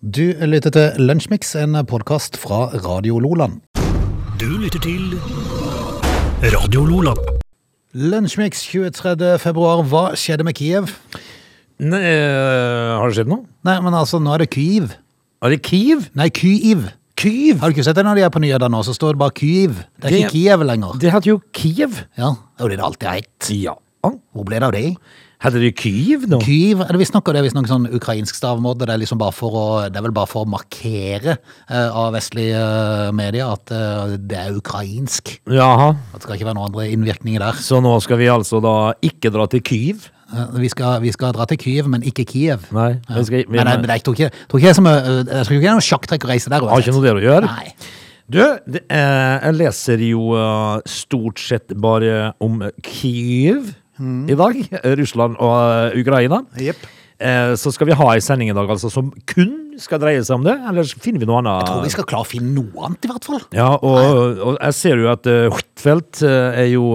Du lytter til Lunsjmix, en podkast fra Radio Loland. Du lytter til Radio Lola. Lunsjmix 23. februar. Hva skjedde med Kiev? Nei, eh, har det skjedd noe? Nei, men altså, nå er det Kyiv. Er det Kiev? Nei, Kyiv. Kyiv? Har du ikke sett det når de er på nyhetene nå, så står det bare Kyiv. Det er Det- ikke Kiev lenger. Det heter jo Kiev. Ja, det er jo det det alltid har hett. Ja. Hvor ble det av det? Heter det Kyiv nå? Kyiv, er det visstnok og det er visstnok sånn ukrainsk stavmåte. Det er liksom bare for å, det er vel bare for å markere eh, av vestlige eh, medier at eh, det er ukrainsk. Jaha. At det skal ikke være noen andre innvirkninger der. Så nå skal vi altså da ikke dra til Kyiv? Eh, Vi skal, vi skal dra til Kyiv, men ikke Kiev. Nei. Vi skal, vi, Men jeg, men jeg tror ikke, tror ikke jeg, som, øh, jeg tror ikke det er noe sjakktrekk å reise der har ikke noe der å gjøre. Nei. Du, det, eh, jeg leser jo eh, stort sett bare om Kyiv Mm. i dag. Russland og eh, Ukraina. Jepp. Eh, så skal vi ha en sending i dag altså, som kun skal dreie seg om det, eller finner vi noe annet? Tror vi skal klare å finne noe annet, i hvert fall. Ja, og, og jeg ser jo at uh, Huitfeldt eh, er jo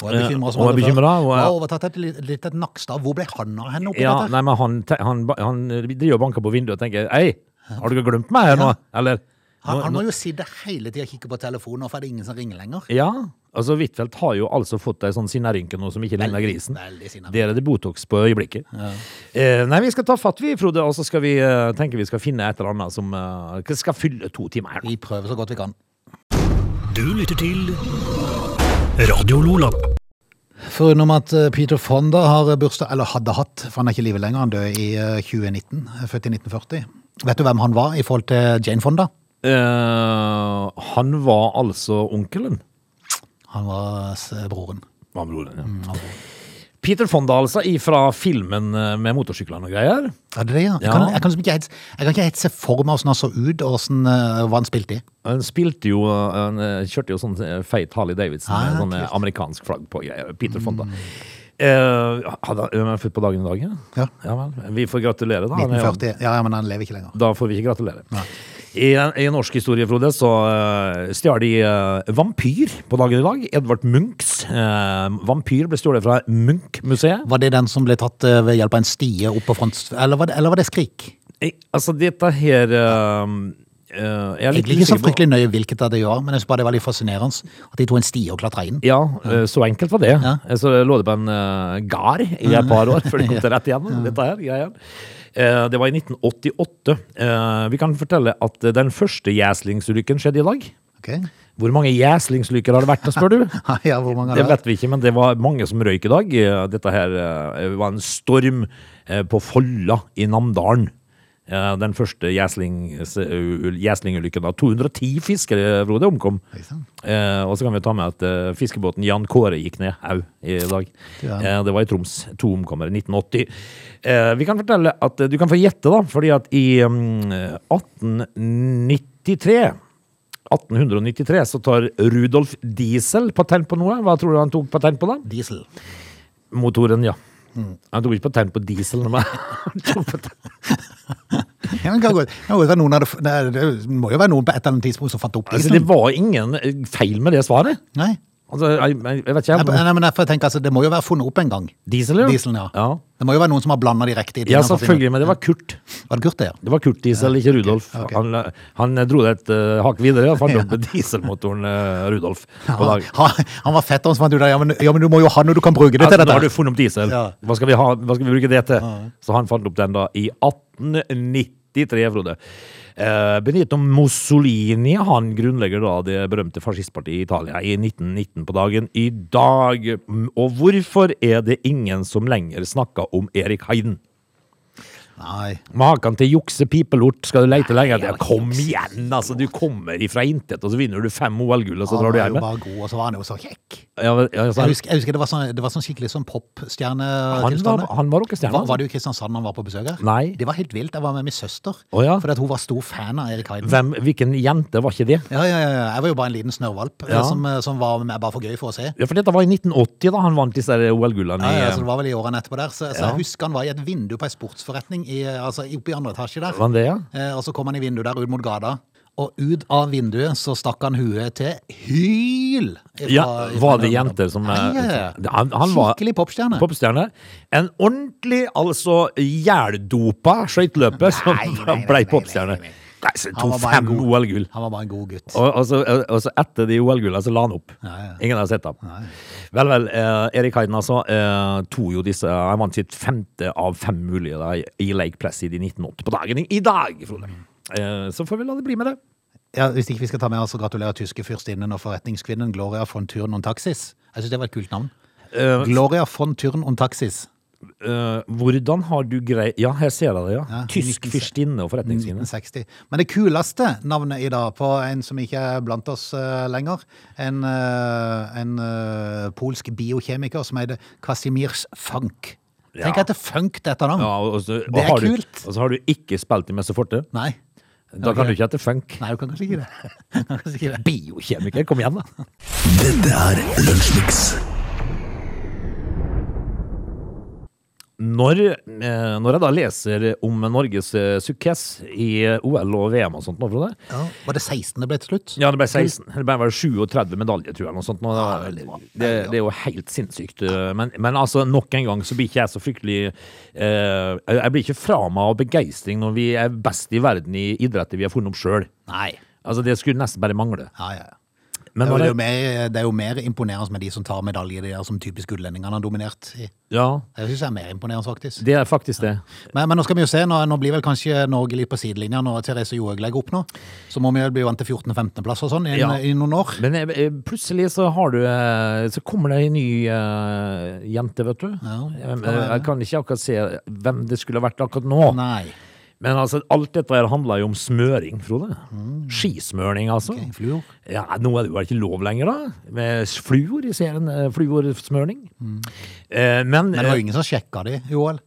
Og jeg Ja, bekymrer oss og om jeg det før. bekymrer, og jeg- Har overtatt et, li- litt et Nakstad. Hvor ble han av henne oppi ja, dette? Nei, men han, te- han, ba- han driver og banker på vinduet og tenker Hei, har dere glemt meg her nå? Ja. Eller Han, nå- han nå- må jo sitte hele tida og kikke på telefonen, og for det er ingen som ringer lenger. Ja. Altså, Huitfeldt har jo altså fått ei sånn sinnarynke nå som ikke ligner grisen. Veldig sinna. Der er det Botox på øyeblikket. Eh, nei, vi skal ta fatt, vi, Frode, og så skal vi eh, tenke vi skal finne et eller annet som eh, skal fylle to timer her. nå. Vi prøver så godt vi kan. Du lytter til Radio Lola. Foruten at eh, Peter Fonda har bursdag, eller hadde hatt, for han er ikke i live lenger, han døde i eh, 2019, eh, født i 1940. Vet du hvem han var i forhold til Jane Fonda? Eh, han var altså onkelen. Han var eh, broren. Var broren, ja. Mm. Peter Fonda, altså, ifra filmen eh, med motorsyklene og greier. Ja, det er det, ja. Jeg Ja. kan, jeg kan, liksom ikke, helt, jeg kan ikke helt se for meg hvordan han så ut, og hvordan, eh, hva han spilte i. Han spilte jo eh, Han eh, kjørte jo sånn eh, feit Harley Davidson Ah, Mm. med sånn eh, amerikansk flagg på greier. Peter Fonda. Eh, hadde han- han er født på dagen i dag, ja? Ja. vel. Vi får gratulere, da. Han er jo- 1940. Ja, ja, men han lever ikke lenger. Da får vi ikke gratulere. I, I norsk historie, Frode, så eh, stjal de eh, Vampyr på dagen i dag. Edvard Munchs eh, Vampyr ble stjålet fra Munch-museet. Var det den som ble tatt eh, ved hjelp av en stie opp på front... Eller var det, eller var det skrik? Eh, Altså, dette her eh, eh, Jeg er litt Egentlig ikke så usikker på- fryktelig nøye hvilket av det var, men jeg synes bare det var litt fascinerende at de tok en stie og klatra inn. Ja, eh, så enkelt var det. Ja. Eh, Så lå det på en eh, gard i et par år før det kom til rett igjen. Dette her, greia. Eh, Det var i 1988. Eh, Vi kan fortelle at eh, den første jæslingsulykken skjedde i dag. Ok. Hvor mange jæslingsulykker har det vært, spør du? Ja, hvor mange Det har det vært? vet vi ikke, men det var mange som røyk i dag. Eh, Dette her eh, var en storm eh, på Folla i Namdalen. Eh, Den første jæsling- s- u- u- jæslingulykken. da. 210 fiskere, Frode, omkom. Oi, sann. Eh, Og så kan vi ta med at eh, fiskebåten Jan Kåre gikk ned au i dag. Ja. Eh, Det var i Troms. To omkommer i 1980. Eh, Vi kan fortelle at eh, Du kan få gjette, da, fordi at i mm, 1893 1893 så tar Rudolf Diesel patent på noe. Hva tror du han tok patent på da? Diesel. Motoren, ja. Mm. Han tok ikke patent på diesel, men han tok patent. Ja, men kan godt- kan godt være noen hadde, f- nei, det må jo være noen på et eller annet tidspunkt som fant opp Altså, det dieselen. var ingen eh, feil med det svaret. Nei, Altså, jeg, jeg- jeg vet Nei, ikke. jeg- nei, men derfor tenker jeg altså, det må jo være funnet opp en gang. Diesel, ja. Dieselen, ja. Det må jo være noen som har blanda de riktige tingene Ja, for å finne- selvfølgelig, men det var Kurt. Var det Kurt, det, ja? Det var Kurt Diesel, ikke Rudolf. ok. Han, eh, han dro det et eh, hakk videre og fant opp dieselmotoren eh, Rudolf på dag. Han, han var fett, han som fant ut av ja, men- ja, men du må jo ha noe du kan bruke det til. Altså, nå har du dette. funnet opp diesel. Ja. Hva, skal vi ha, hva skal vi bruke det til? Så han fant opp den da i 1893, Frode. Eh, Benito Mussolini han grunnlegger da det berømte fascistpartiet i Italia i 1919 på dagen i dag. Mm, Og hvorfor er det ingen som lenger snakker om Erik Heiden? Nei. Maken til juksepipelort skal du leite lenge jeg etter. har ikke Kom jukse- igjen, altså! Du kommer ifra intet, og så vinner du fem OL-gull, og så Han drar var du jo hjem. bare god, og så var han jo så kjekk. Ja, men- ja, så Jeg han, husker, jeg husker det var sånn, det var sånn skikkelig sånn han var, popstjernetilstand. han var rockestjerne. Var, altså. var det jo Kristiansand han var på besøk her? Nei. Det var helt vilt. Jeg var med min søster, Å, ja. fordi at hun var stor fan av Erik Heiden. Hvem, hvilken jente var ikke det? Ja, ja, ja, ja. Jeg var jo bare en liten snørrvalp eh, Ja. som, eh, som var med bare for gøy for å se. Ja, for dette var i 1980 da han vant disse der OL-gullene. Ja, i- ja, så det var vel i årene etterpå der. Så, så eh. Ja. jeg husker han var i et vindu på ei sportsforretning i, eh, altså, oppe i andre etasje der. Var han det, ja? Eh, og så kom han i vinduet der ut mot gata. og ut av vinduet så stakk han huet til hyl. ifra- Ja, ifra var det den- jenter som eh, Nei, ja, ja. han, han var Skikkelig popstjerne. popstjerne. En ordentlig, altså jævldopa skøyteløper som Nei, nei, nei, ble nei, popstjerne. nei, nei. Nei, så Han tok var bare fem en god- OL-gull. Han var bare en god gutt. Og, og, så, og så etter de OL-gullene så la han opp. Ja, ja. Ingen har sett ham. Vel, vel. Eh, Erik Heiden altså, eh, tok jo disse Han vant sitt femte av fem mulige da, i Lake Placid i 1980 på dagen i- i dag, Frode. Eh, så får vi la det bli med det. Ja, hvis ikke vi skal ta med oss og gratulere tyske fyrstinnen og forretningskvinnen Gloria von Thurn und Taxis. Jeg syns det var et kult navn. Eh, Gloria von Thurn und Taxis. Eh, hvordan har du grei... Ja, her ser jeg det, ja. Ja, Tysk 1960. fyrstinne og forretningskvinne. 1960. Men det kuleste navnet i dag på en som ikke er blant oss eh, lenger, en, eh, en eh, polsk biokjemiker som heter Kasimirs Funk. Ja. Tenk at det er funk det heter navn. Ja, og, og så, og Det er har du, kult. Og så har du ikke spilt i Messe Forte. Nei. Da kan du ikke hete funk. Nei, du kan kanskje ikke det. Du kan kanskje ikke det. Biokjemiker, kom igjen, da. Dette er Lunsjmix. Når, eh, når jeg da leser om Norges eh, sukkess i OL og VM og sånt nå, Frode Ja. Var det 16 det ble til slutt? Ja, det ble 16. Det ble vel 37 medaljer, tror jeg. Noe sånt. nå. Ja, veldig bra. det, det er jo helt sinnssykt. Men, men altså, nok en gang så blir ikke jeg så fryktelig eh, Jeg blir ikke fra meg av begeistring når vi er best i verden i idretter vi har funnet opp sjøl. Nei. Altså, det skulle nesten bare mangle. Ja, ja, ja. Men Det når er, jo det, mer, det er jo mer imponerende med de som tar medalje, de der som typisk utlendingene har dominert i. ja, Det syns jeg er mer imponerende, faktisk. det er faktisk det. Men, men nå skal vi jo se, nå, nå blir vel kanskje Norge litt på sidelinja når Therese Johaug legger opp nå. Så må vi jo bli vant til 14.-15.-plass og sånn i, en- Ja. i noen år. Men eh, eh, plutselig så har du eh, Så kommer det ei ny eh, jente, vet du. Ja, Eh, kan være. jeg kan ikke akkurat se eh, hvem det skulle vært akkurat nå. Nei. Men altså, alt dette her handler jo om smøring, Frode. Skismøring, altså. Mm. Ok, fluor. Ja, Nå er det jo ikke lov lenger, da. Med fluor i serien. eh, Fluorsmøring. Eh, men Mm. Men det var eh, jo ingen som sjekka de i OL.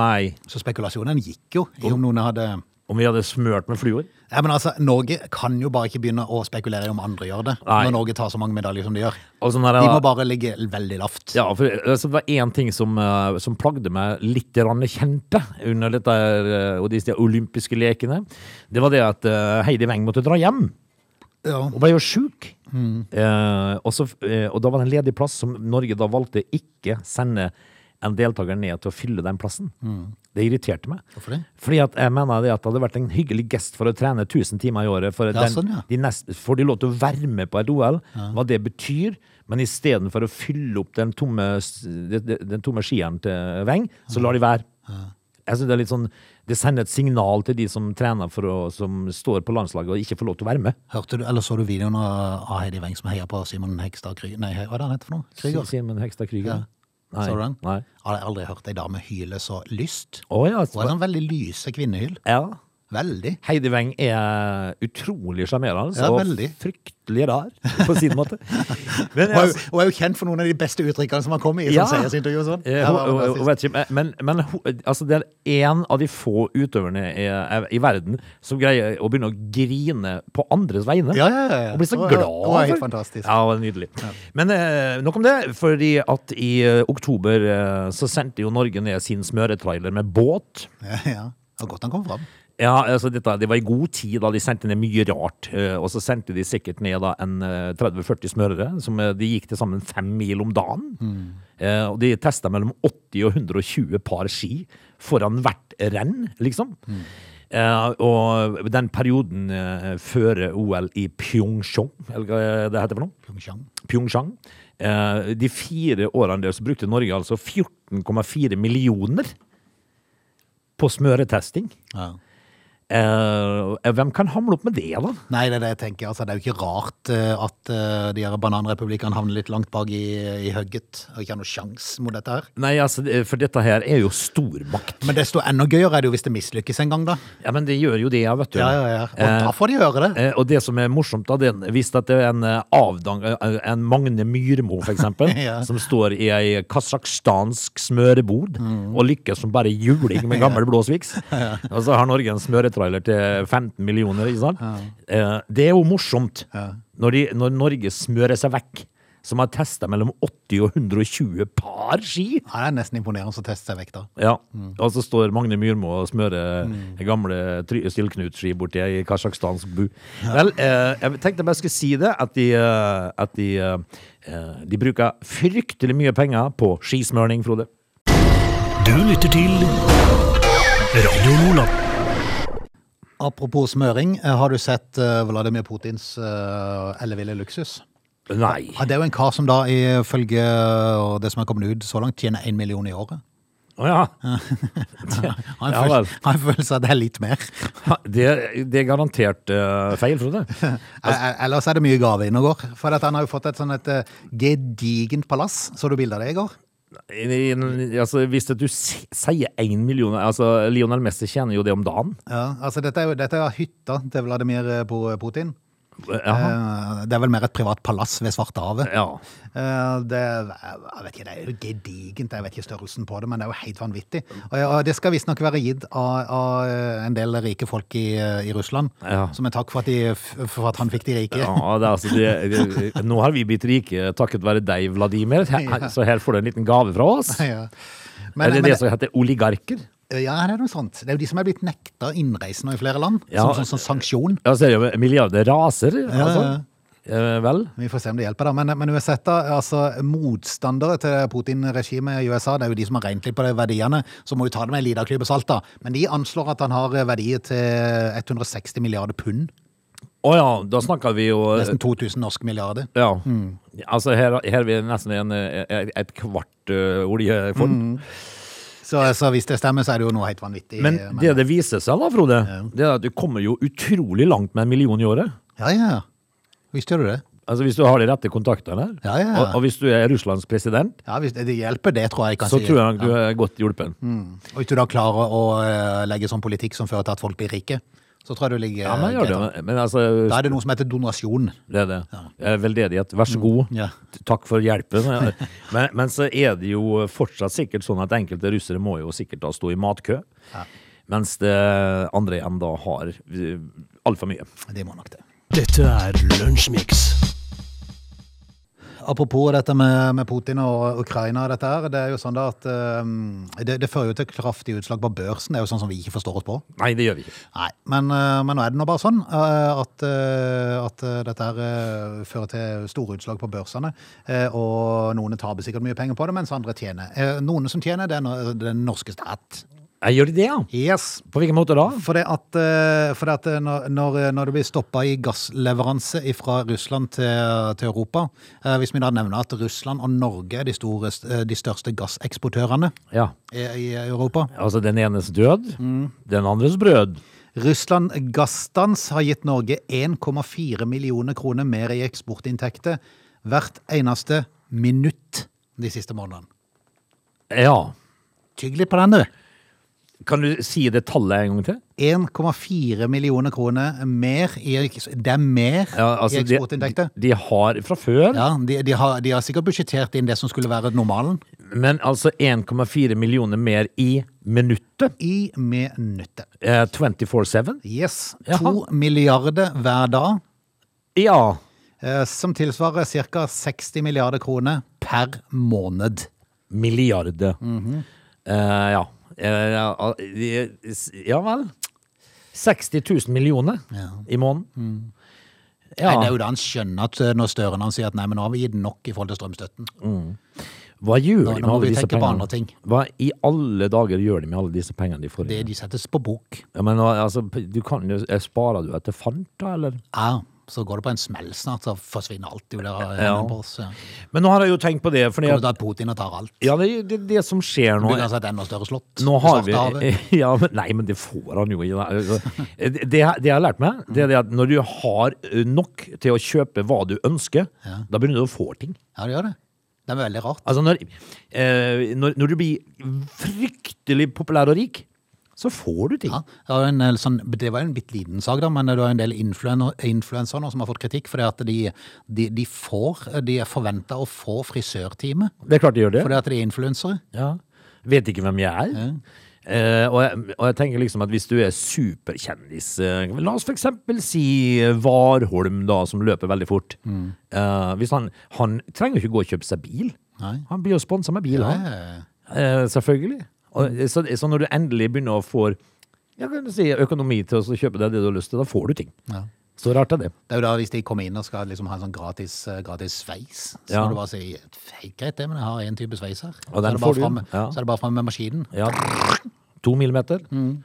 Nei. Så spekulasjonen gikk jo i om noen hadde Om vi hadde smørt med fluor? Ja, men altså, Norge kan jo bare ikke begynne å spekulere i om andre gjør det, Nei. når Norge tar så mange medaljer som de gjør. Altså, når jeg De da- må bare ligge veldig lavt. Ja, for altså, det var én ting som, eh, som plagde meg litt grann kjente under dette, her, eh, og disse olympiske lekene. Det var det at eh, Heidi Weng måtte dra hjem. Ja. Hun ble jo sjuk. Eh, og, så, eh, og da var det en ledig plass som Norge da valgte ikke sende en deltaker ned til å fylle den plassen. Det irriterte meg. Hvorfor det? Fordi at jeg mener det at det hadde vært en hyggelig gest for å trene 1000 timer i året. For Ja, den, sånn, ja. de nest, får de lov til å være med på et OL, hva det betyr. Men istedenfor å fylle opp den tomme, s- de- de- den tomme skieren til Weng, så lar de være. Jeg synes Det er litt sånn, det sender et signal til de som trener for å, som står på landslaget og ikke får lov til å være med. Hørte du, eller Så du videoen av av Heidi Weng som heier på Simon Hegstad Kry... Nei, hva er det han heter for noe? Krüger? Si- Simen Hegstad Krüger. Ja. Nei. Så du den? Nei. Jeg har aldri hørt ei dame hyle så lyst. Å ja. Hun er sånn veldig lyse kvinnehyl. ja. Veldig. Heidi Weng er utrolig sjarmerende altså, Ja, og veldig. fryktelig rar på sin måte. Hun Men, er, altså, jo, hun er jo kjent for noen av de beste uttrykkene som har kommet i Ja. sånn seiersintervju og sånn. Eh, Ja, det hun- var hun- hun fantastisk. vet ikke, men, men hun- altså, det er én av de få utøverne i, i verden som greier å begynne å grine på andres vegne. Ja, ja, ja, ja. Og blir så Hun er- glad. hun er helt for- fantastisk. Ja, hun er nydelig. Men eh, nok om det, fordi at i eh, oktober eh, så sendte jo Norge ned sin smøretrailer med båt. Ja, ja. Det var godt han kom fram. Ja, altså dette, Det var i god tid da de sendte ned mye rart. eh, Og så sendte de sikkert ned da en eh, 30-40 smørere, som eh, de gikk til sammen fem mil om dagen. Eh, Og de testa mellom 80 og 120 par ski foran hvert renn, liksom. Eh, og den perioden eh, før OL i Pyeongchang, eller hva det heter for noe? Pyeongchang. Pyeongchang. Eh, de fire årene der så brukte Norge altså 14,4 millioner på smøretesting. Ja. Eh, hvem kan hamle opp med det, da? Nei, det er det jeg tenker. Altså, det er jo ikke rart eh, at eh, de her bananrepublikkene havner litt langt bak i, i hugget og ikke har noe sjans mot dette her. Nei, altså, det- For dette her er jo stormakt. Men desto enda gøyere er det jo hvis det mislykkes en gang, da. Ja, Men det gjør jo det, ja, vet du. Ja, ja, ja. Og da får de høre det. Eh, og det som er morsomt, da, det er hvis at det er en eh, avdang... eh, En Magne Myrmo, for eksempel, Ja. som står i ei kasakhstansk smørebod Mm. og lykkes som bare juling med gammel blåsviks. Og så har Norge en smøretrailer til 15 millioner, ikke sant? Eh, det er jo morsomt når, de, når Norge smører seg vekk. som har testa mellom 80 og 120 par ski. Ja, det er nesten imponerende å teste seg vekk da. Ja, Og så står Magne Myrmo og smører gamle Stillknut-ski borti ei kasjokhstansk bu. Vel, eh, jeg tenkte bare jeg skulle si det, at de, eh, at de, eh, eh, de bruker fryktelig mye penger på skismøring, Frode. Du lytter til Radio Lola. Apropos smøring, eh, har du sett eh, Vladimir Putins eh, elleville luksus? Nei. Ja, det er jo en kar som da, ifølge eh, det som er kommet ut så langt, tjener én million i året. Å ja. Har en Ja, vel. følelse, har en følelse av at det er litt mer. Det, det er garantert eh, feil, Frode. Eh, Ellers er det mye gave inne og går. For at han har jo fått et sånn et eh, gedigent palass. Så du bildet av det i går? I- i- Altså, hvis at du s- sier én million altså, Lionel Messi tjener jo det om dagen. Ja, altså dette er jo dette er hytta til Vladimir eh, Po- Putin. Jaha. Eh, Det er vel mer et privat palass ved Svartehavet. Ja. Eh, Det, jeg vet ikke, det er jo gedigent, jeg vet ikke størrelsen på det, men det er jo helt vanvittig. Og ja, og det skal visstnok være gitt av, av eh, en del rike folk i, eh, i Russland, Ja. som en takk for at, de, for at han fikk de rike. Ja, det, er altså, det, det, nå har vi blitt rike takket være deg, Vladimir, her, så her får du en liten gave fra oss. Ja. Men, Er det men, det som heter oligarker? ja, det er noe sånt. Det er jo de som er blitt nekta innreise nå i flere land, Ja. som, som, som sanksjon. Ja, så er det jo milliarder raser, altså. Eh, vel? Vi får se om det hjelper, da. Men, men uansett, da, altså, motstandere til Putin-regimet i USA, det er jo de som har regnet litt på de verdiene, så må vi ta det med en liten klype salt, da. Men de anslår at han har eh, verdier til 160 milliarder pund. Å ja, da snakker vi jo eh, Nesten Mm. 2000 norske milliarder. Ja. Altså, her, her er vi nesten en, eh, et kvart eh, oljefond. Så, så hvis det stemmer, så er Mm, det jo noe helt vanvittig. Men eh, det det viser seg, da, Frode, det er at du kommer jo utrolig langt med en million i året. Ja, ja. Visste du det? Altså Hvis du har de rette kontaktene, her, Ja, ja. Og, og hvis du er Russlands president, Ja, hvis det det hjelper, det tror jeg jeg kan så si. tror jeg nok du er godt hjulpen. Og hvis du da klarer å eh, legge sånn politikk som fører til at folk blir rike, så tror jeg du ligger Ja, men gjør greit det. an. Men altså, Da er det noe som heter donasjon. det er det. Eh, Veldedighet. Vær så god. Ja. Takk for hjelpen. Men, men så er det jo fortsatt sikkert sånn at enkelte russere må jo sikkert da stå i matkø. Mens det andre igjen da har eh, altfor mye. Det må nok det. Dette er Lunsjmix. Apropos dette med, med Putin og Ukraina, og dette her, det er jo sånn da at eh, det, det fører jo til kraftig utslag på børsen. Det er jo sånn som vi ikke forstår oss på. Nei, det gjør vi ikke. Nei, Men, eh, men nå er det nå bare sånn eh, at, eh, at eh, dette her eh, fører til store utslag på børsene. eh, Og noen taper sikkert mye penger på det, mens andre tjener. Eh, Noen som tjener, det er no- den norske stat. Jeg gjør det, ja. Yes. På hvilken måte da? For det at, eh, for det at eh, når, når- når det blir stoppa i gassleveranse fra Russland til, til Europa eh, Hvis vi da nevner at Russland og Norge er de, store, eh, de største gasseksportørene Ja. i, i Europa Altså den enes død, den andres brød. Russland Gassdans har gitt Norge 1,4 millioner kroner mer i eksportinntekter hvert eneste minutt de siste månedene. Ja. Tygg litt på den, du. Kan du si det tallet en gang til? 1,4 millioner kroner mer i, det er mer Ja, i altså, de, eksportinntekter. de- de har fra før, Ja, de, de, har, de har sikkert budsjettert inn det som skulle være normalen men altså 1,4 millioner mer i minuttet. i minuttet. Eh, 24-7. Yes. To Jaha. milliarder hver dag, Ja. eh, som tilsvarer ca. 60 milliarder kroner per måned. Milliarder. eh, ja. Eh, ja. eh, Ja vel. 60 000 millioner i måneden. Nei, det er Ja. jo da han skjønner at eh, når Støren han sier at nei, men nå har vi gitt nok i forhold til strømstøtten. Hva gjør nå de med må alle vi disse tenke på andre pengene? ting. Hva i alle dager gjør de med alle disse pengene de får? Det de settes på bok. Ja, men altså, du kan jo, Sparer du etter fant, da, eller? Ja, så går det på en smell snart, så forsvinner alt. Jo, der, eh, Ja. på oss. Ja. Men nå har jeg jo tenkt på det, fordi Kommer at, da Putin og tar alt. ja, det, er jo- det, det som skjer nå Bygger han seg et enda større slott. Nå i har vi Svartehavet. ja, men, Nei, men det får han jo i Det, det jeg har lært meg, det er det at når du har nok til å kjøpe hva du ønsker, da begynner du å få ting. Ja, det gjør det. Det er veldig rart. Altså når, eh, når, når du blir fryktelig populær og rik, så får du ting. Ja, det var jo en, eh, sånn, det var jo en bitte liten sak, da, men det var en del influen- influensere nå som har fått kritikk fordi at de, de, de får De er forventa å få frisørtime Det er klart de gjør det. fordi at de er influensere. Ja. Vet ikke hvem jeg er. Eh, og, jeg, og jeg tenker liksom at hvis du er superkjendis eh, La oss for eksempel si eh, Warholm, da, som løper veldig fort. Eh, hvis han, han trenger jo ikke gå og kjøpe seg bil. Nei. Han blir jo sponsa med bil, han. Eh, Eh, selvfølgelig. Og, eh, så, så når du endelig begynner å få ja, kan du si, økonomi til å så kjøpe deg det du har lyst til, da får du ting. Ja. Så rart er det. Det er jo da hvis de kommer inn og skal liksom ha en sånn gratis, eh, gratis sveis, så Ja. må du bare si «Hei, greit det, men jeg har én type sveis her. Og så, er den det bare får du, fram, ja. så er det bare fram med maskinen. Ja. To millimeter. Um,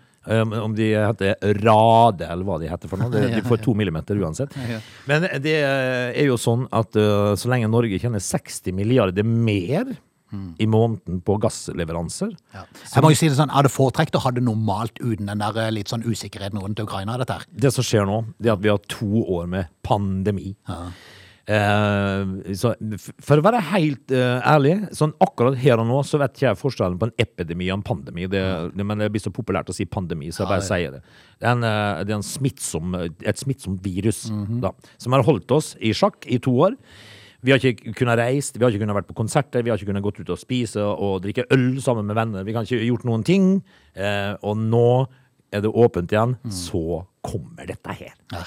om de heter Rade, eller hva de heter for noe. De, de får to millimeter uansett. Ja. Men det er jo sånn at uh, så lenge Norge tjener 60 milliarder mer Mm. i måneden på gassleveranser Ja. Jeg må jo si det sånn, jeg hadde foretrekt å ha det normalt uten den der eh, litt sånn usikkerheten rundt Ukraina. dette her. Det som skjer nå, det er at vi har to år med pandemi. Eh, så f- for å være helt eh, ærlig, sånn akkurat her og nå så vet ikke jeg forskjellen på en epidemi og en pandemi. Det, det, men det blir så populært å si pandemi, så jeg bare sier det. Det er, en, eh, det er en smittsom, et smittsomt virus da, som har holdt oss i sjakk i to år. Vi har ikke kunnet reist, vi har ikke kunnet vært på konserter, vi har ikke kunnet gått ut og spise og drikke øl sammen med venner. Vi kan ikke gjort noen ting. Eh, og nå er det åpent igjen. Så kommer dette her. Ja.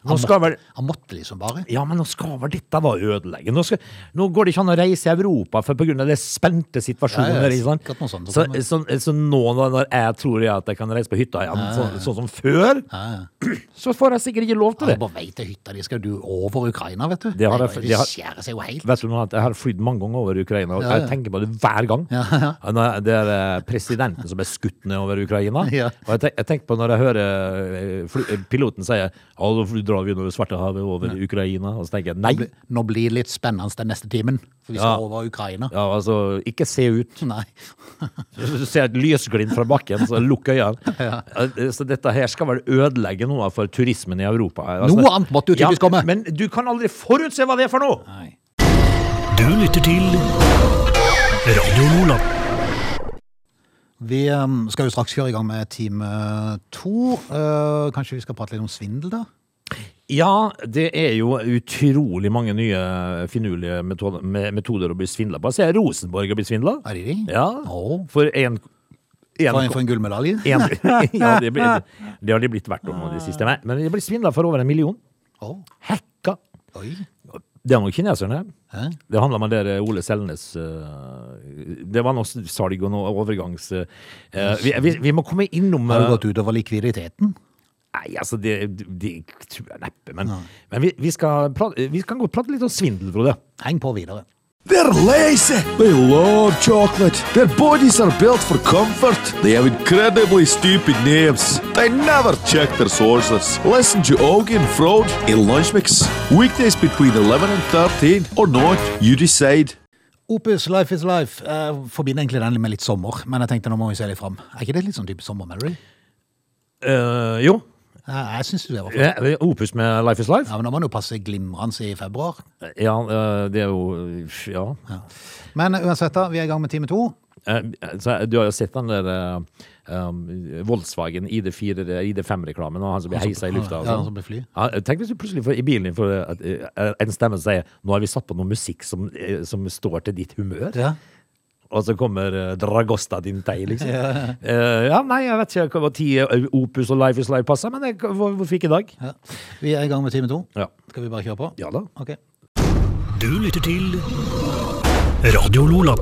Nå skal vel Han måtte liksom bare. ja, men nå skal vel dette da ødelegge? Nå, skal, nå går det ikke an å reise i Europa for pga. den spente situasjonen. Ja, ja, ikke sant? sikkert noe sånt så, som kommer. så, så nå når når jeg tror jeg at jeg kan reise på hytta igjen, sånn, sånn som før, så får jeg sikkert ikke lov til Han det. er på vei til hytta, de skal jo over Ukraina, vet du. Det har jeg- det, det har- skjærer seg jo helt. Vet du noe, at Jeg har flydd mange ganger over Ukraina, og Ja, ja. jeg tenker på det hver gang. Når Det er eh, presidenten som er skutt ned over Ukraina. Ja. Og jeg, tenk, jeg tenker på når jeg hører eh, fly, eh, piloten si at nå drar vi under Svartehavet over Ukraina, og så tenker jeg nei. Nå blir det litt spennende den neste timen, for vi Ja. skal over Ukraina. Ja, altså, ikke se ut. Nei. Du ser et lysglimt fra bakken, så lukk øynene. Eh, Så dette her skal vel ødelegge noe for turismen i Europa. Altså, Noe annet måtte jo typisk komme. Men du kan aldri forutse hva det er for noe! Nei. Du lytter til Radio Nordland. Vi em, skal jo straks kjøre i gang med time to. Eh, kanskje vi skal prate litt om svindel, da? Ja, det er jo utrolig mange nye finurlige metoder, me- metoder å bli svindla på. Jeg ser Rosenborg har blitt svindla. Er det de? Ja, Å. for en, en, For, en- for en gullmedalje? en, ja det, blir, det har de blitt verdt om nå de siste. Men men de blir svindla for over en million. Å, Hacka. Oi. Det er nok kineserne. Hæ? Det handler om det der Ole Selnes eh, Det var noe salg og noe overgangs... eh, vi, vi, vi må komme innom Har det eh, gått utover likviditeten? Nei, altså, det, det tror jeg neppe. Men, men vi, vi, skal prate, vi kan godt prate litt om svindel, Frode. Heng på videre. They're lazy. They love chocolate. Their bodies are built for comfort. They have incredibly stupid names. They never check their sources. Listen to Augie and Frode in Lunch Mix. Weekdays between 11 and 13 or not, you decide. Opus Life is Life. Jeg forbinder egentlig den med litt sommer, men jeg tenkte nå må vi se litt fram. Er ikke det litt sånn type sommer, Mary? Eh, jo. Jeg, jeg syns det var flott. eh, Opus med Life is Life. Ja, men da må man jo passe glimrende i februar. Ja, eh, det er jo Ja. Men uansett, da, vi er i gang med time to. Eh, så, du har jo sett den der eh, um, Volkswagen ID4, ID5-reklamen, og han som blir som- heisa i lufta. og ja, han sånn. som blir fly. Ja, tenk hvis du plutselig får i bilen din får at, eh, en stemme som sier nå har vi satt på noe musikk som, eh, som står til ditt humør, Ja. og så kommer eh, Dragosta din tei, liksom. Eh, ja, nei, jeg vet ikke hva tid eh, Opus og Life is Life passer, men jeg, hvor, hvorfor ikke i dag? ja. Vi er i gang med time to. Ja. Skal vi bare kjøre på? ja da. Ok. Du lytter til Radio Lola.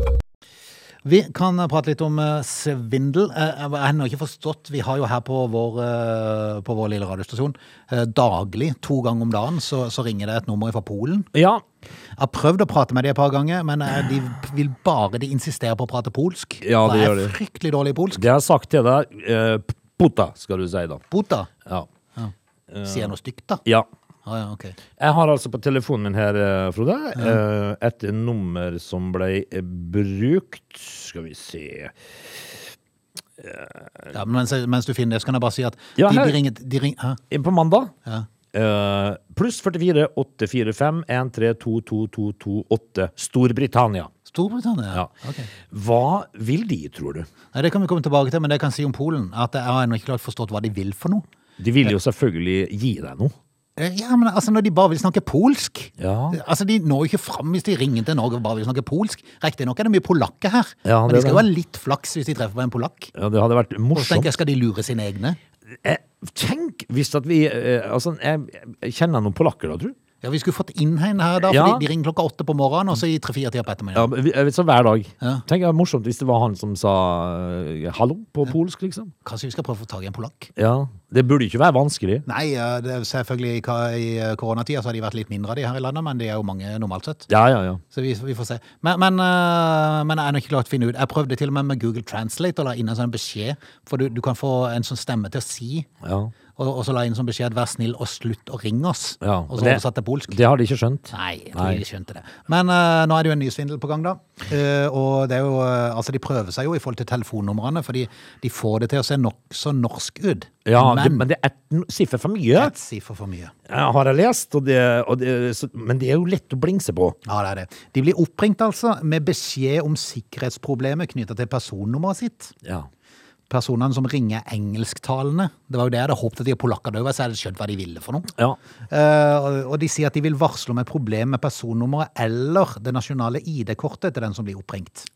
Vi kan eh, prate litt om eh, svindel. Eh, Jeg har ennå ikke forstått Vi har jo her på vår, eh, på vår lille radiostasjon eh, daglig, to ganger om dagen, så, så ringer det et nummer fra Polen. Ja, Jeg har prøvd å prate med dem et par ganger, men eh, de vil bare de insisterer på å prate polsk. Ja, Og det jeg gjør de. er fryktelig dårlig i polsk. det har jeg sagt til deg. eh, puta, skal du si da. Bota Ja. sier noe stygt, da. ja. Ah, ja, ok. Jeg har altså på telefonen min her, eh, Frode, eh, et nummer som ble eh, brukt. Skal vi se. ja, men mens, mens du finner det, så kan jeg bare si at Ja, de, her- de ringer, de ringer hæ? Inn på mandag. Ja. Eh, pluss 44 845 132228 Storbritannia. Storbritannia? Ja. Ok. Hva vil de, tror du? Nei, Det kan vi komme tilbake til, men det jeg kan si om Polen, er at jeg har ennå ikke klart forstått hva de vil for noe. De vil jo selvfølgelig gi deg noe. Eh, Ja, men altså, når de bare vil snakke polsk Ja. Altså, De når jo ikke fram hvis de ringer til Norge og bare vil snakke polsk. Riktignok er det mye polakker her, Ja, men det er de skal jo det. ha litt flaks hvis de treffer på en polakk. Ja, det hadde vært Og så tenker morsomt. jeg, skal de lure sine egne? Eh, Tenk hvis at vi eh, Altså, jeg jeg kjenner noen polakker, da, tror du? Ja, Vi skulle fått inn henne her, da, Ja. fordi de ringer klokka åtte på morgenen, og så i tre-fire tider på Ja, ettermiddagen. men vi- jeg vet så hver dag. Ja. Tenk det var morsomt hvis det var han som sa eh, hallo på polsk, liksom. Kanskje vi skal prøve å få tak i en polakk? Ja. Det burde ikke være vanskelig. Nei, eh, det er selvfølgelig i ka- i eh, koronatida så har de vært litt mindre av de her i landet, men de er jo mange normalt sett. Ja, ja, ja. Så vi, vi får se. Men, men, eh, men jeg er nok ikke klart å finne ut. Jeg prøvde til og med med Google Translate å la inn en sånn beskjed, for du, du kan få en sånn stemme til å si ja. Og, og så la jeg inn som beskjed 'vær snill og slutt å ringe oss'. Ja, og så men det- oversatt til polsk. Det har de ikke skjønt. Nei, jeg tror Nei. de skjønte det. Men eh, nå er det jo en ny svindel på gang, da. Eh, og det er jo, eh, altså de prøver seg jo i forhold til telefonnumrene, fordi de får det til å se nokså norsk ut. Ja, det, men men det er et siffer for mye, ett siffer for mye. eh, har jeg lest. Og det, og det, så, men det er jo lett å blingse på. Ja, det er det. De blir oppringt altså med beskjed om sikkerhetsproblemer knytta til personnummeret sitt. Ja. Personene som ringer er engelsktalende. Det var jo det jeg hadde håpet at de polakker døde, så jeg hadde skjønt hva de ville for noe. ja. Eh, og- og de sier at de vil varsle om et problem med personnummeret eller det nasjonale ID-kortet til den som blir oppringt.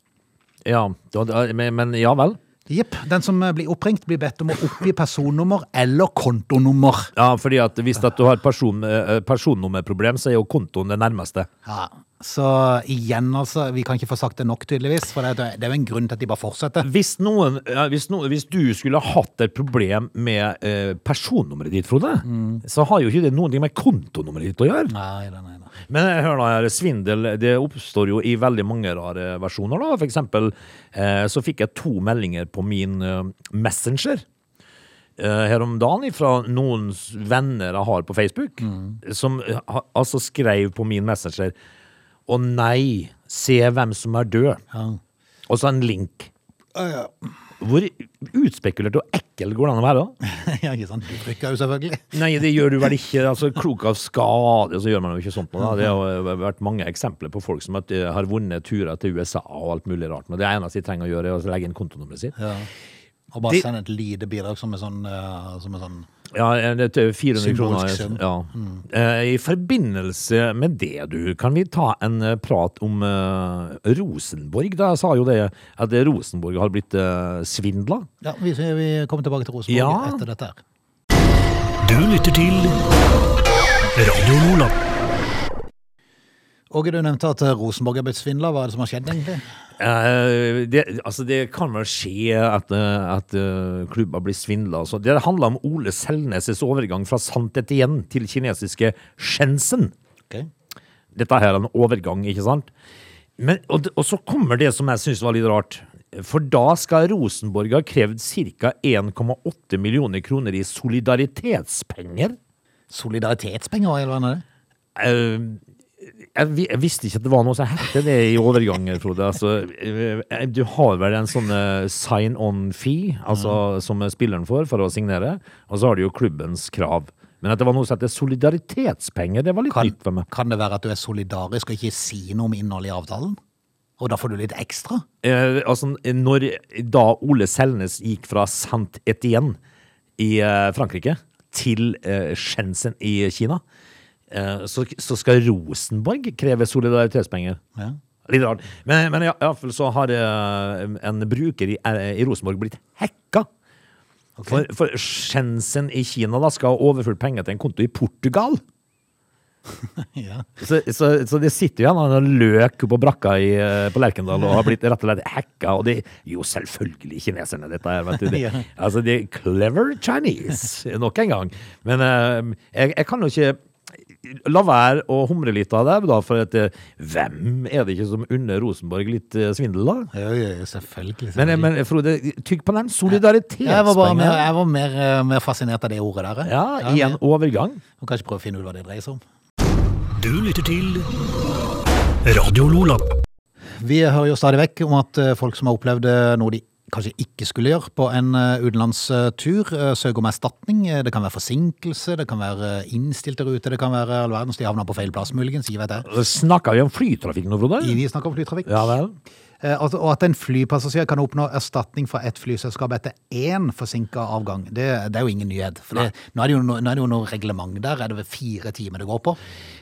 ja. Da- da- Men, men ja vel. Jepp. Den som eh, blir oppringt, blir bedt om å oppgi personnummer eller kontonummer. Ja, fordi at hvis at du har et person, eh, personnummerproblem, så er jo kontoen det nærmeste. Ja. Så igjen, altså. Vi kan ikke få sagt det nok, tydeligvis. For det er det er jo en grunn til at de bare fortsetter. Hvis, noen, ja, hvis, noen, hvis du skulle ha hatt et problem med eh, personnummeret ditt, Frode, så har jo ikke det noen ting med kontonummeret ditt å gjøre. Nei, nei, nei. nei. Men eh, hør nå her, svindel det oppstår jo i veldig mange rare versjoner. da. For eksempel eh, så fikk jeg to meldinger på min eh, Messenger eh, her om dagen fra noen s- venner jeg har på Facebook, som eh, ha- altså skrev på min Messenger Å nei, se hvem som er død. Og så en link. Hvor utspekulert og ekkel går det an å være? da? ja, ikke sant. Du trykker jo selvfølgelig. Nei, det gjør du vel ikke. Altså, Klok av skade, så gjør man jo ikke sånt. noe, Da. Det har vært mange eksempler på folk som at, eh, har vunnet turer til USA og alt mulig rart. Men det eneste de trenger å gjøre, er å legge inn kontonummeret sitt. Ja. Og bare Det- send et lite bidrag som er sånn, eh, som er sånn Ja, eh, det er 400 Symbolsk kroner. sum. Mm. Ja. Eh, I forbindelse med det, du, kan vi ta en eh, prat om eh, Rosenborg? Da Jeg sa jo det at eh, Rosenborg har blitt uh, svindla. Ja, vi, vi kommer tilbake til Rosenborg Ja. etter dette her. Du lytter til Radio Lola. Åge, du nevnte at eh, Rosenborg er blitt svindla. Hva er det som har skjedd, egentlig? Eh, det, altså det kan vel skje at, eh, at eh, klubber blir svindla. Det handler om Ole Selnes' overgang fra Sant Etienne til kinesiske Shenzhen. Ok. Dette her er en overgang, ikke sant? Men, og, og så kommer det som jeg syns var litt rart. For da skal Rosenborg ha krevd ca. 1,8 millioner kroner i solidaritetspenger. Solidaritetspenger, eller hva er det? Eh, jeg, vi- jeg visste ikke at det var noe som hette det i overgangen, Frode. Altså, eh, du har vel en sånn eh, sign-on-fee altså, som spilleren får for å signere, og så har du jo klubbens krav. Men at det var noe som heter solidaritetspenger, det var litt nytt for meg. Kan det være at du er solidarisk og ikke sier noe om innholdet i avtalen? Og da får du litt ekstra? Eh, altså, når da Ole Selnes gikk fra Saint Etienne i eh, Frankrike til eh, Shenzhen i Kina, eh, så, så skal Rosenborg kreve solidaritetspenger. Ja. Litt rart. Men, men ja, i hvert fall så har eh, en bruker i, eh, i Rosenborg blitt hacka. For, for Shenzhen i Kina da skal ha overført penger til en konto i Portugal. ja. Så, så, så det sitter jo igjen en løk på brakka i, eh, på Lerkendal og har blitt rett og slett hacka. Og det jo selvfølgelig kineserne, dette her. Vet du. Det, Ja. altså, det er clever Chinese, nok en gang. Men eh, jeg, jeg kan jo ikke la være å humre litt av det, da, for at, eh, hvem er det ikke som unner Rosenborg litt eh, svindel, da? Jo, jo, jo, selvfølgelig. Men, selvfølgelig. eh, men Frode, tygg på jeg var, bare den mer, solidaritetspengen. jeg var mer, eh, mer fascinert av det ordet der. eh. jeg. Ja, i en overgang. Må kanskje prøve å finne ut hva det dreier seg om. Du lytter til Radio Lola. Vi hører jo stadig vekk om at eh, folk som har opplevd eh, noe de kanskje ikke skulle gjøre på en eh, utenlandstur, eh, søker om erstatning. Eh, Det kan være forsinkelse, det kan være eh, innstilte ruter, det kan være all verdens de havner på feil plass, muligens. Gi vet jeg. Snakker vi om flytrafikk nå, Frode? Vi snakker om flytrafikk. Ja vel. Eh, at- Og at en flypassasjer kan oppnå erstatning fra ett flyselskap etter én forsinka avgang, det, det er jo ingen nyhet. For det, nå, er det jo, no- nå er det jo noe reglement der. Er det vel fire timer det går på?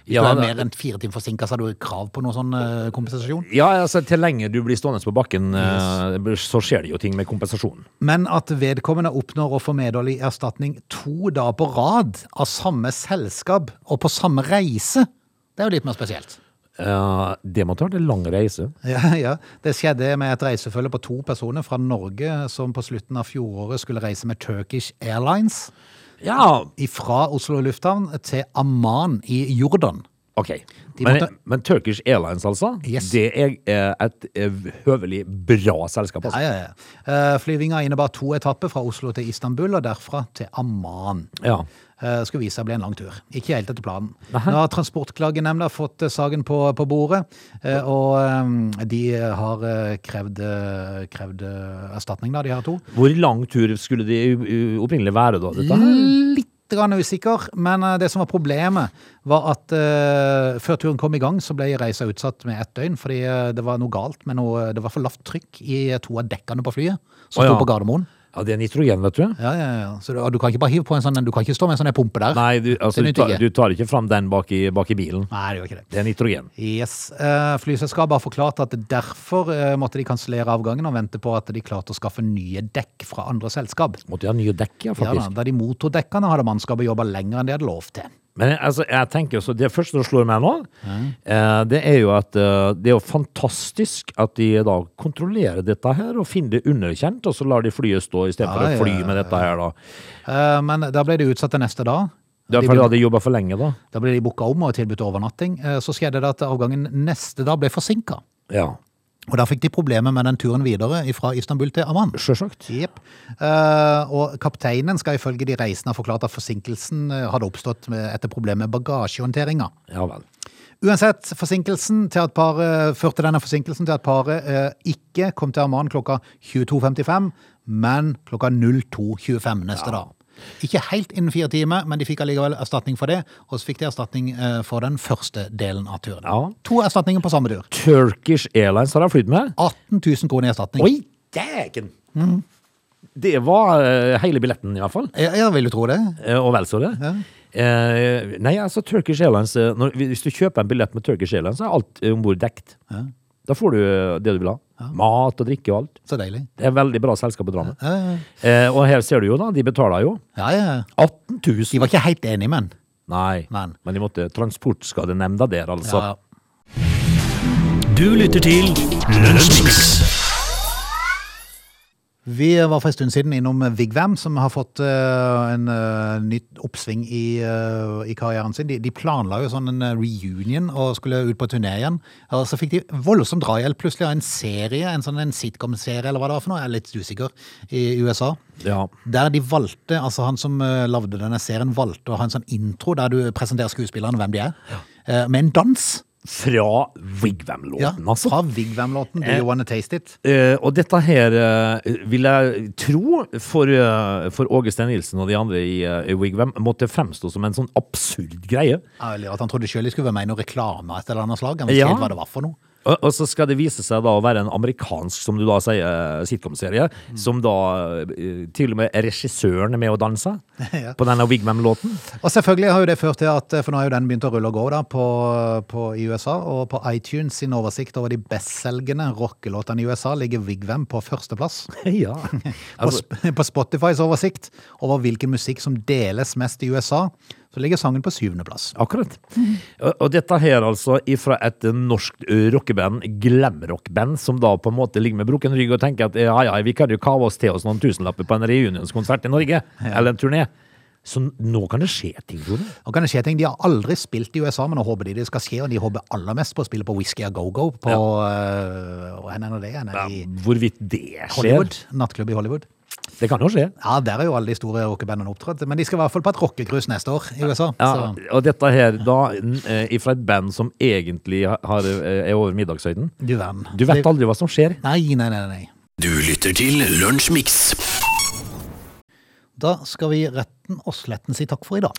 Hvis Ja, du er det- mer enn fire timer forsinka, så har du krav på noe sånn eh, kompensasjon? Ja, altså, til lenge du blir stående på bakken, eh, så skjer det jo ting med kompensasjonen. Men at vedkommende oppnår å få medhold i erstatning to dager på rad av samme selskap og på samme reise, det er jo litt mer spesielt. Eh, det må ta en lang reise. Ja, ja. Det skjedde med et reisefølge på to personer fra Norge som på slutten av fjoråret skulle reise med Turkish Airlines Ja, fra Oslo lufthavn til Amman i Jordan. ok. De Men, måtte- men Turkish Airlines, altså, Yes. det er eh, et eh, høvelig bra selskap. Ja, Altså. ja, ja. Eh, Flyvinga innebar to etapper fra Oslo til Istanbul og derfra til Amman. Ja. Eh, skulle vise seg å bli en lang tur. Ikke helt etter planen. Nei. Nå har Transportklagenemnda fått eh, saken på, på bordet, eh, og eh, de har eh, krevd, eh, krevd eh, erstatning, da, de her to. Hvor lang tur skulle det u- u- opprinnelig være da, dette her? Litt grann usikker, men eh, det som var problemet, var at eh, før turen kom i gang, så ble reisa utsatt med ett døgn, fordi eh, det var noe galt med noe Det var for lavt trykk i to av dekkene på flyet, som Å, ja. sto på Gardermoen. Ja, det er nitrogen, vet du. Ja, ja, ja. Så du, og du kan ikke bare hive på en sånn Du kan ikke stå med en sånn pumpe der. Nei, du, altså, du, Det nytter tar, ikke. du tar ikke fram den bak i, bak i bilen. Nei det gjør ikke det. Det er nitrogen. Yes. Eh, Flyselskapet har forklart at derfor eh, måtte de kansellere avgangen og vente på at de klarte å skaffe nye dekk fra andre selskap. Måtte jo ha nye dekk, Ja, ja, da, faktisk. da de motordekkene hadde mannskapet jobba lenger enn de hadde lov til. Men altså, jeg tenker jo, så det første som slår meg nå, eh, det er jo at eh, det er jo fantastisk at de da kontrollerer dette her og finner det underkjent, og så lar de flyet stå i stedet Ja, for å ja, fly ja, med dette her da. Eh, men da ble det utsatt til neste dag. Det De er fordi de ble, hadde jobbet for lenge da. da ble de booka om og tilbudt overnatting. Eh, Så skjedde det at avgangen neste dag ble forsinka. Ja, Og da fikk de problemer med den turen videre fra Istanbul til Amman. selvsagt. Jep. Eh, og kapteinen skal ifølge de reisende ha forklart at forsinkelsen eh, hadde oppstått med, etter problemet med bagasjehåndteringa. Ja vel. Uansett, forsinkelsen til at paret, eh, førte denne forsinkelsen til at paret eh, ikke kom til Amman klokka 22.55, men klokka 02.25 neste dag. Ikke helt innen fire timer, men de fikk allikevel erstatning for det. Og så fikk de erstatning eh, for den første delen av turen. Ja. To erstatninger på samme tur. Turkish Airlines har jeg flytt med. 18 000 kroner i erstatning. Oi, dæken! Det var eh, hele billetten i hvert fall. Jeg, jeg vil jo tro det. Eh, og vel så det. Eh, nei, altså Turkish Airlines eh, når, Hvis du kjøper en billett med Turkish Airlines, så er alt eh, om bord dekt. Da får du eh, det du vil ha. Mat og drikke og alt. Så deilig. Det er veldig bra selskap å dra med. Ja, ja. Eh, og her ser du jo, da. De betaler jo Ja, ja. 18 000. De var ikke helt enige, men. Nei, Men. men de måtte Transportskadenemnda der, altså. Ja, ja. Du lytter til Lunsjmix. Vi var for en stund siden innom Vigvam, som har fått eh, en eh, nytt oppsving i, eh, i karrieren sin. De, de planla jo sånn en eh, reunion og skulle ut på turné igjen. Og så fikk de voldsom drahjelp plutselig av en serie, en sånn en sitcom-serie eller hva det var for noe, jeg er litt usikker, i USA. Ja. Der de valgte, altså han som uh, lagde denne serien, valgte å ha en sånn intro der du presenterer skuespillerne hvem de er, eh, med en dans. Fra Wigwam-låten, Ja, altså. fra Vigvam-låten Do Eh. You Wanna Taste It? Eh, og dette her eh, vil jeg tro, for, eh, for Åge Stein Nilsen og de andre i, eh, i Wigwam, måtte fremstå som en sånn absurd greie. Ja, eller At han trodde sjøl de skulle være med i noe reklame av et eller annet slag. Han visste Ja. ikke helt hva det var for noe. Og, og så skal det vise seg da å være en amerikansk, som du da sier, eh, sitcom-serie, Mm. som da eh, til og med er regissøren med å danse Ja. på denne Wigwam-låten. Og selvfølgelig har jo det ført til at eh, For nå har jo den begynt å rulle og gå da på, på, i USA. Og på iTunes sin oversikt over de bestselgende rockelåtene i USA ligger Vigvam på førsteplass. ja. På, Altså, sp- på Spotifys oversikt over hvilken musikk som deles mest i USA, så ligger sangen på syvendeplass. akkurat. Og, og dette her altså ifra et norsk eh, rockeband, glamrockband, som da på en måte ligger med brukken rygg og tenker at ja, ja, vi kan jo kave oss til oss noen tusenlapper på en reunionskonsert i Norge, eller en turné. Så nå kan det skje ting, Frode. Nå kan det skje ting. De har aldri spilt i USA, men nå håper de det skal skje, og de håper aller mest på å spille på Whisky a Go-Go på øh, Hvor hen er nå det? Hen er det i Hvorvidt det skjer, Hollywood? Nattklubb i Hollywood? det kan jo skje. Ja, der er jo alle de store rockebandene opptrådt. Men de skal i hvert fall på et rockecruise neste år i USA. Ja, Så og dette her da, n- eh, fra et band som egentlig har, har, eh, er over middagshøyden. du verden. Du vet aldri hva som skjer. Nei, nei, nei. nei. Du lytter til Lunsjmix. Da skal vi retten og sletten si takk for i dag.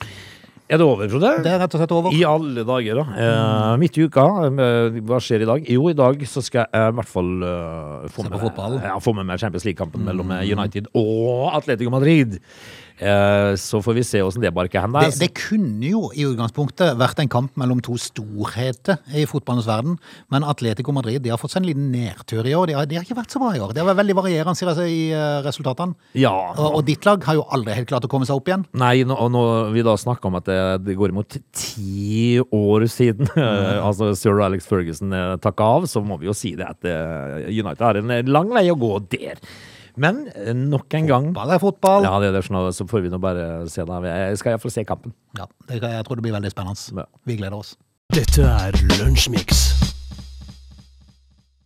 Er det over, Frode? Det er rett og slett over. I alle dager, da. Eh, midt i uka. eh, hva skjer i dag? Jo, i dag så skal jeg i hvert fall eh, få, Se med, på Mm. fotball. ja, få med meg Champions League-kampen mellom eh, United og Atletico Madrid. Eh, så får vi se åssen det barker hen. der. Det, det kunne jo i utgangspunktet vært en kamp mellom to storheter i fotballens verden, men Atletico Madrid de har fått seg en liten nedtur i år. De har, de har ikke vært så bra i år. Det har vært veldig varierende sier jeg, i eh, resultatene. ja. Og, og ditt lag har jo aldri helt klart å komme seg opp igjen. Nei, nå, og nå vi da snakker om at det, det går imot ti år siden altså sir Alex Ferguson eh, takka av, så må vi jo si det at eh, United har en eh, lang vei å gå der. Men eh, nok en gang Ball er fotball. Ja, det er det, sånn, så får vi nå bare se da. Jeg skal iallfall se kampen. Ja, det, jeg tror det blir veldig spennende. Ja. Vi gleder oss. Dette er Lunsjmix.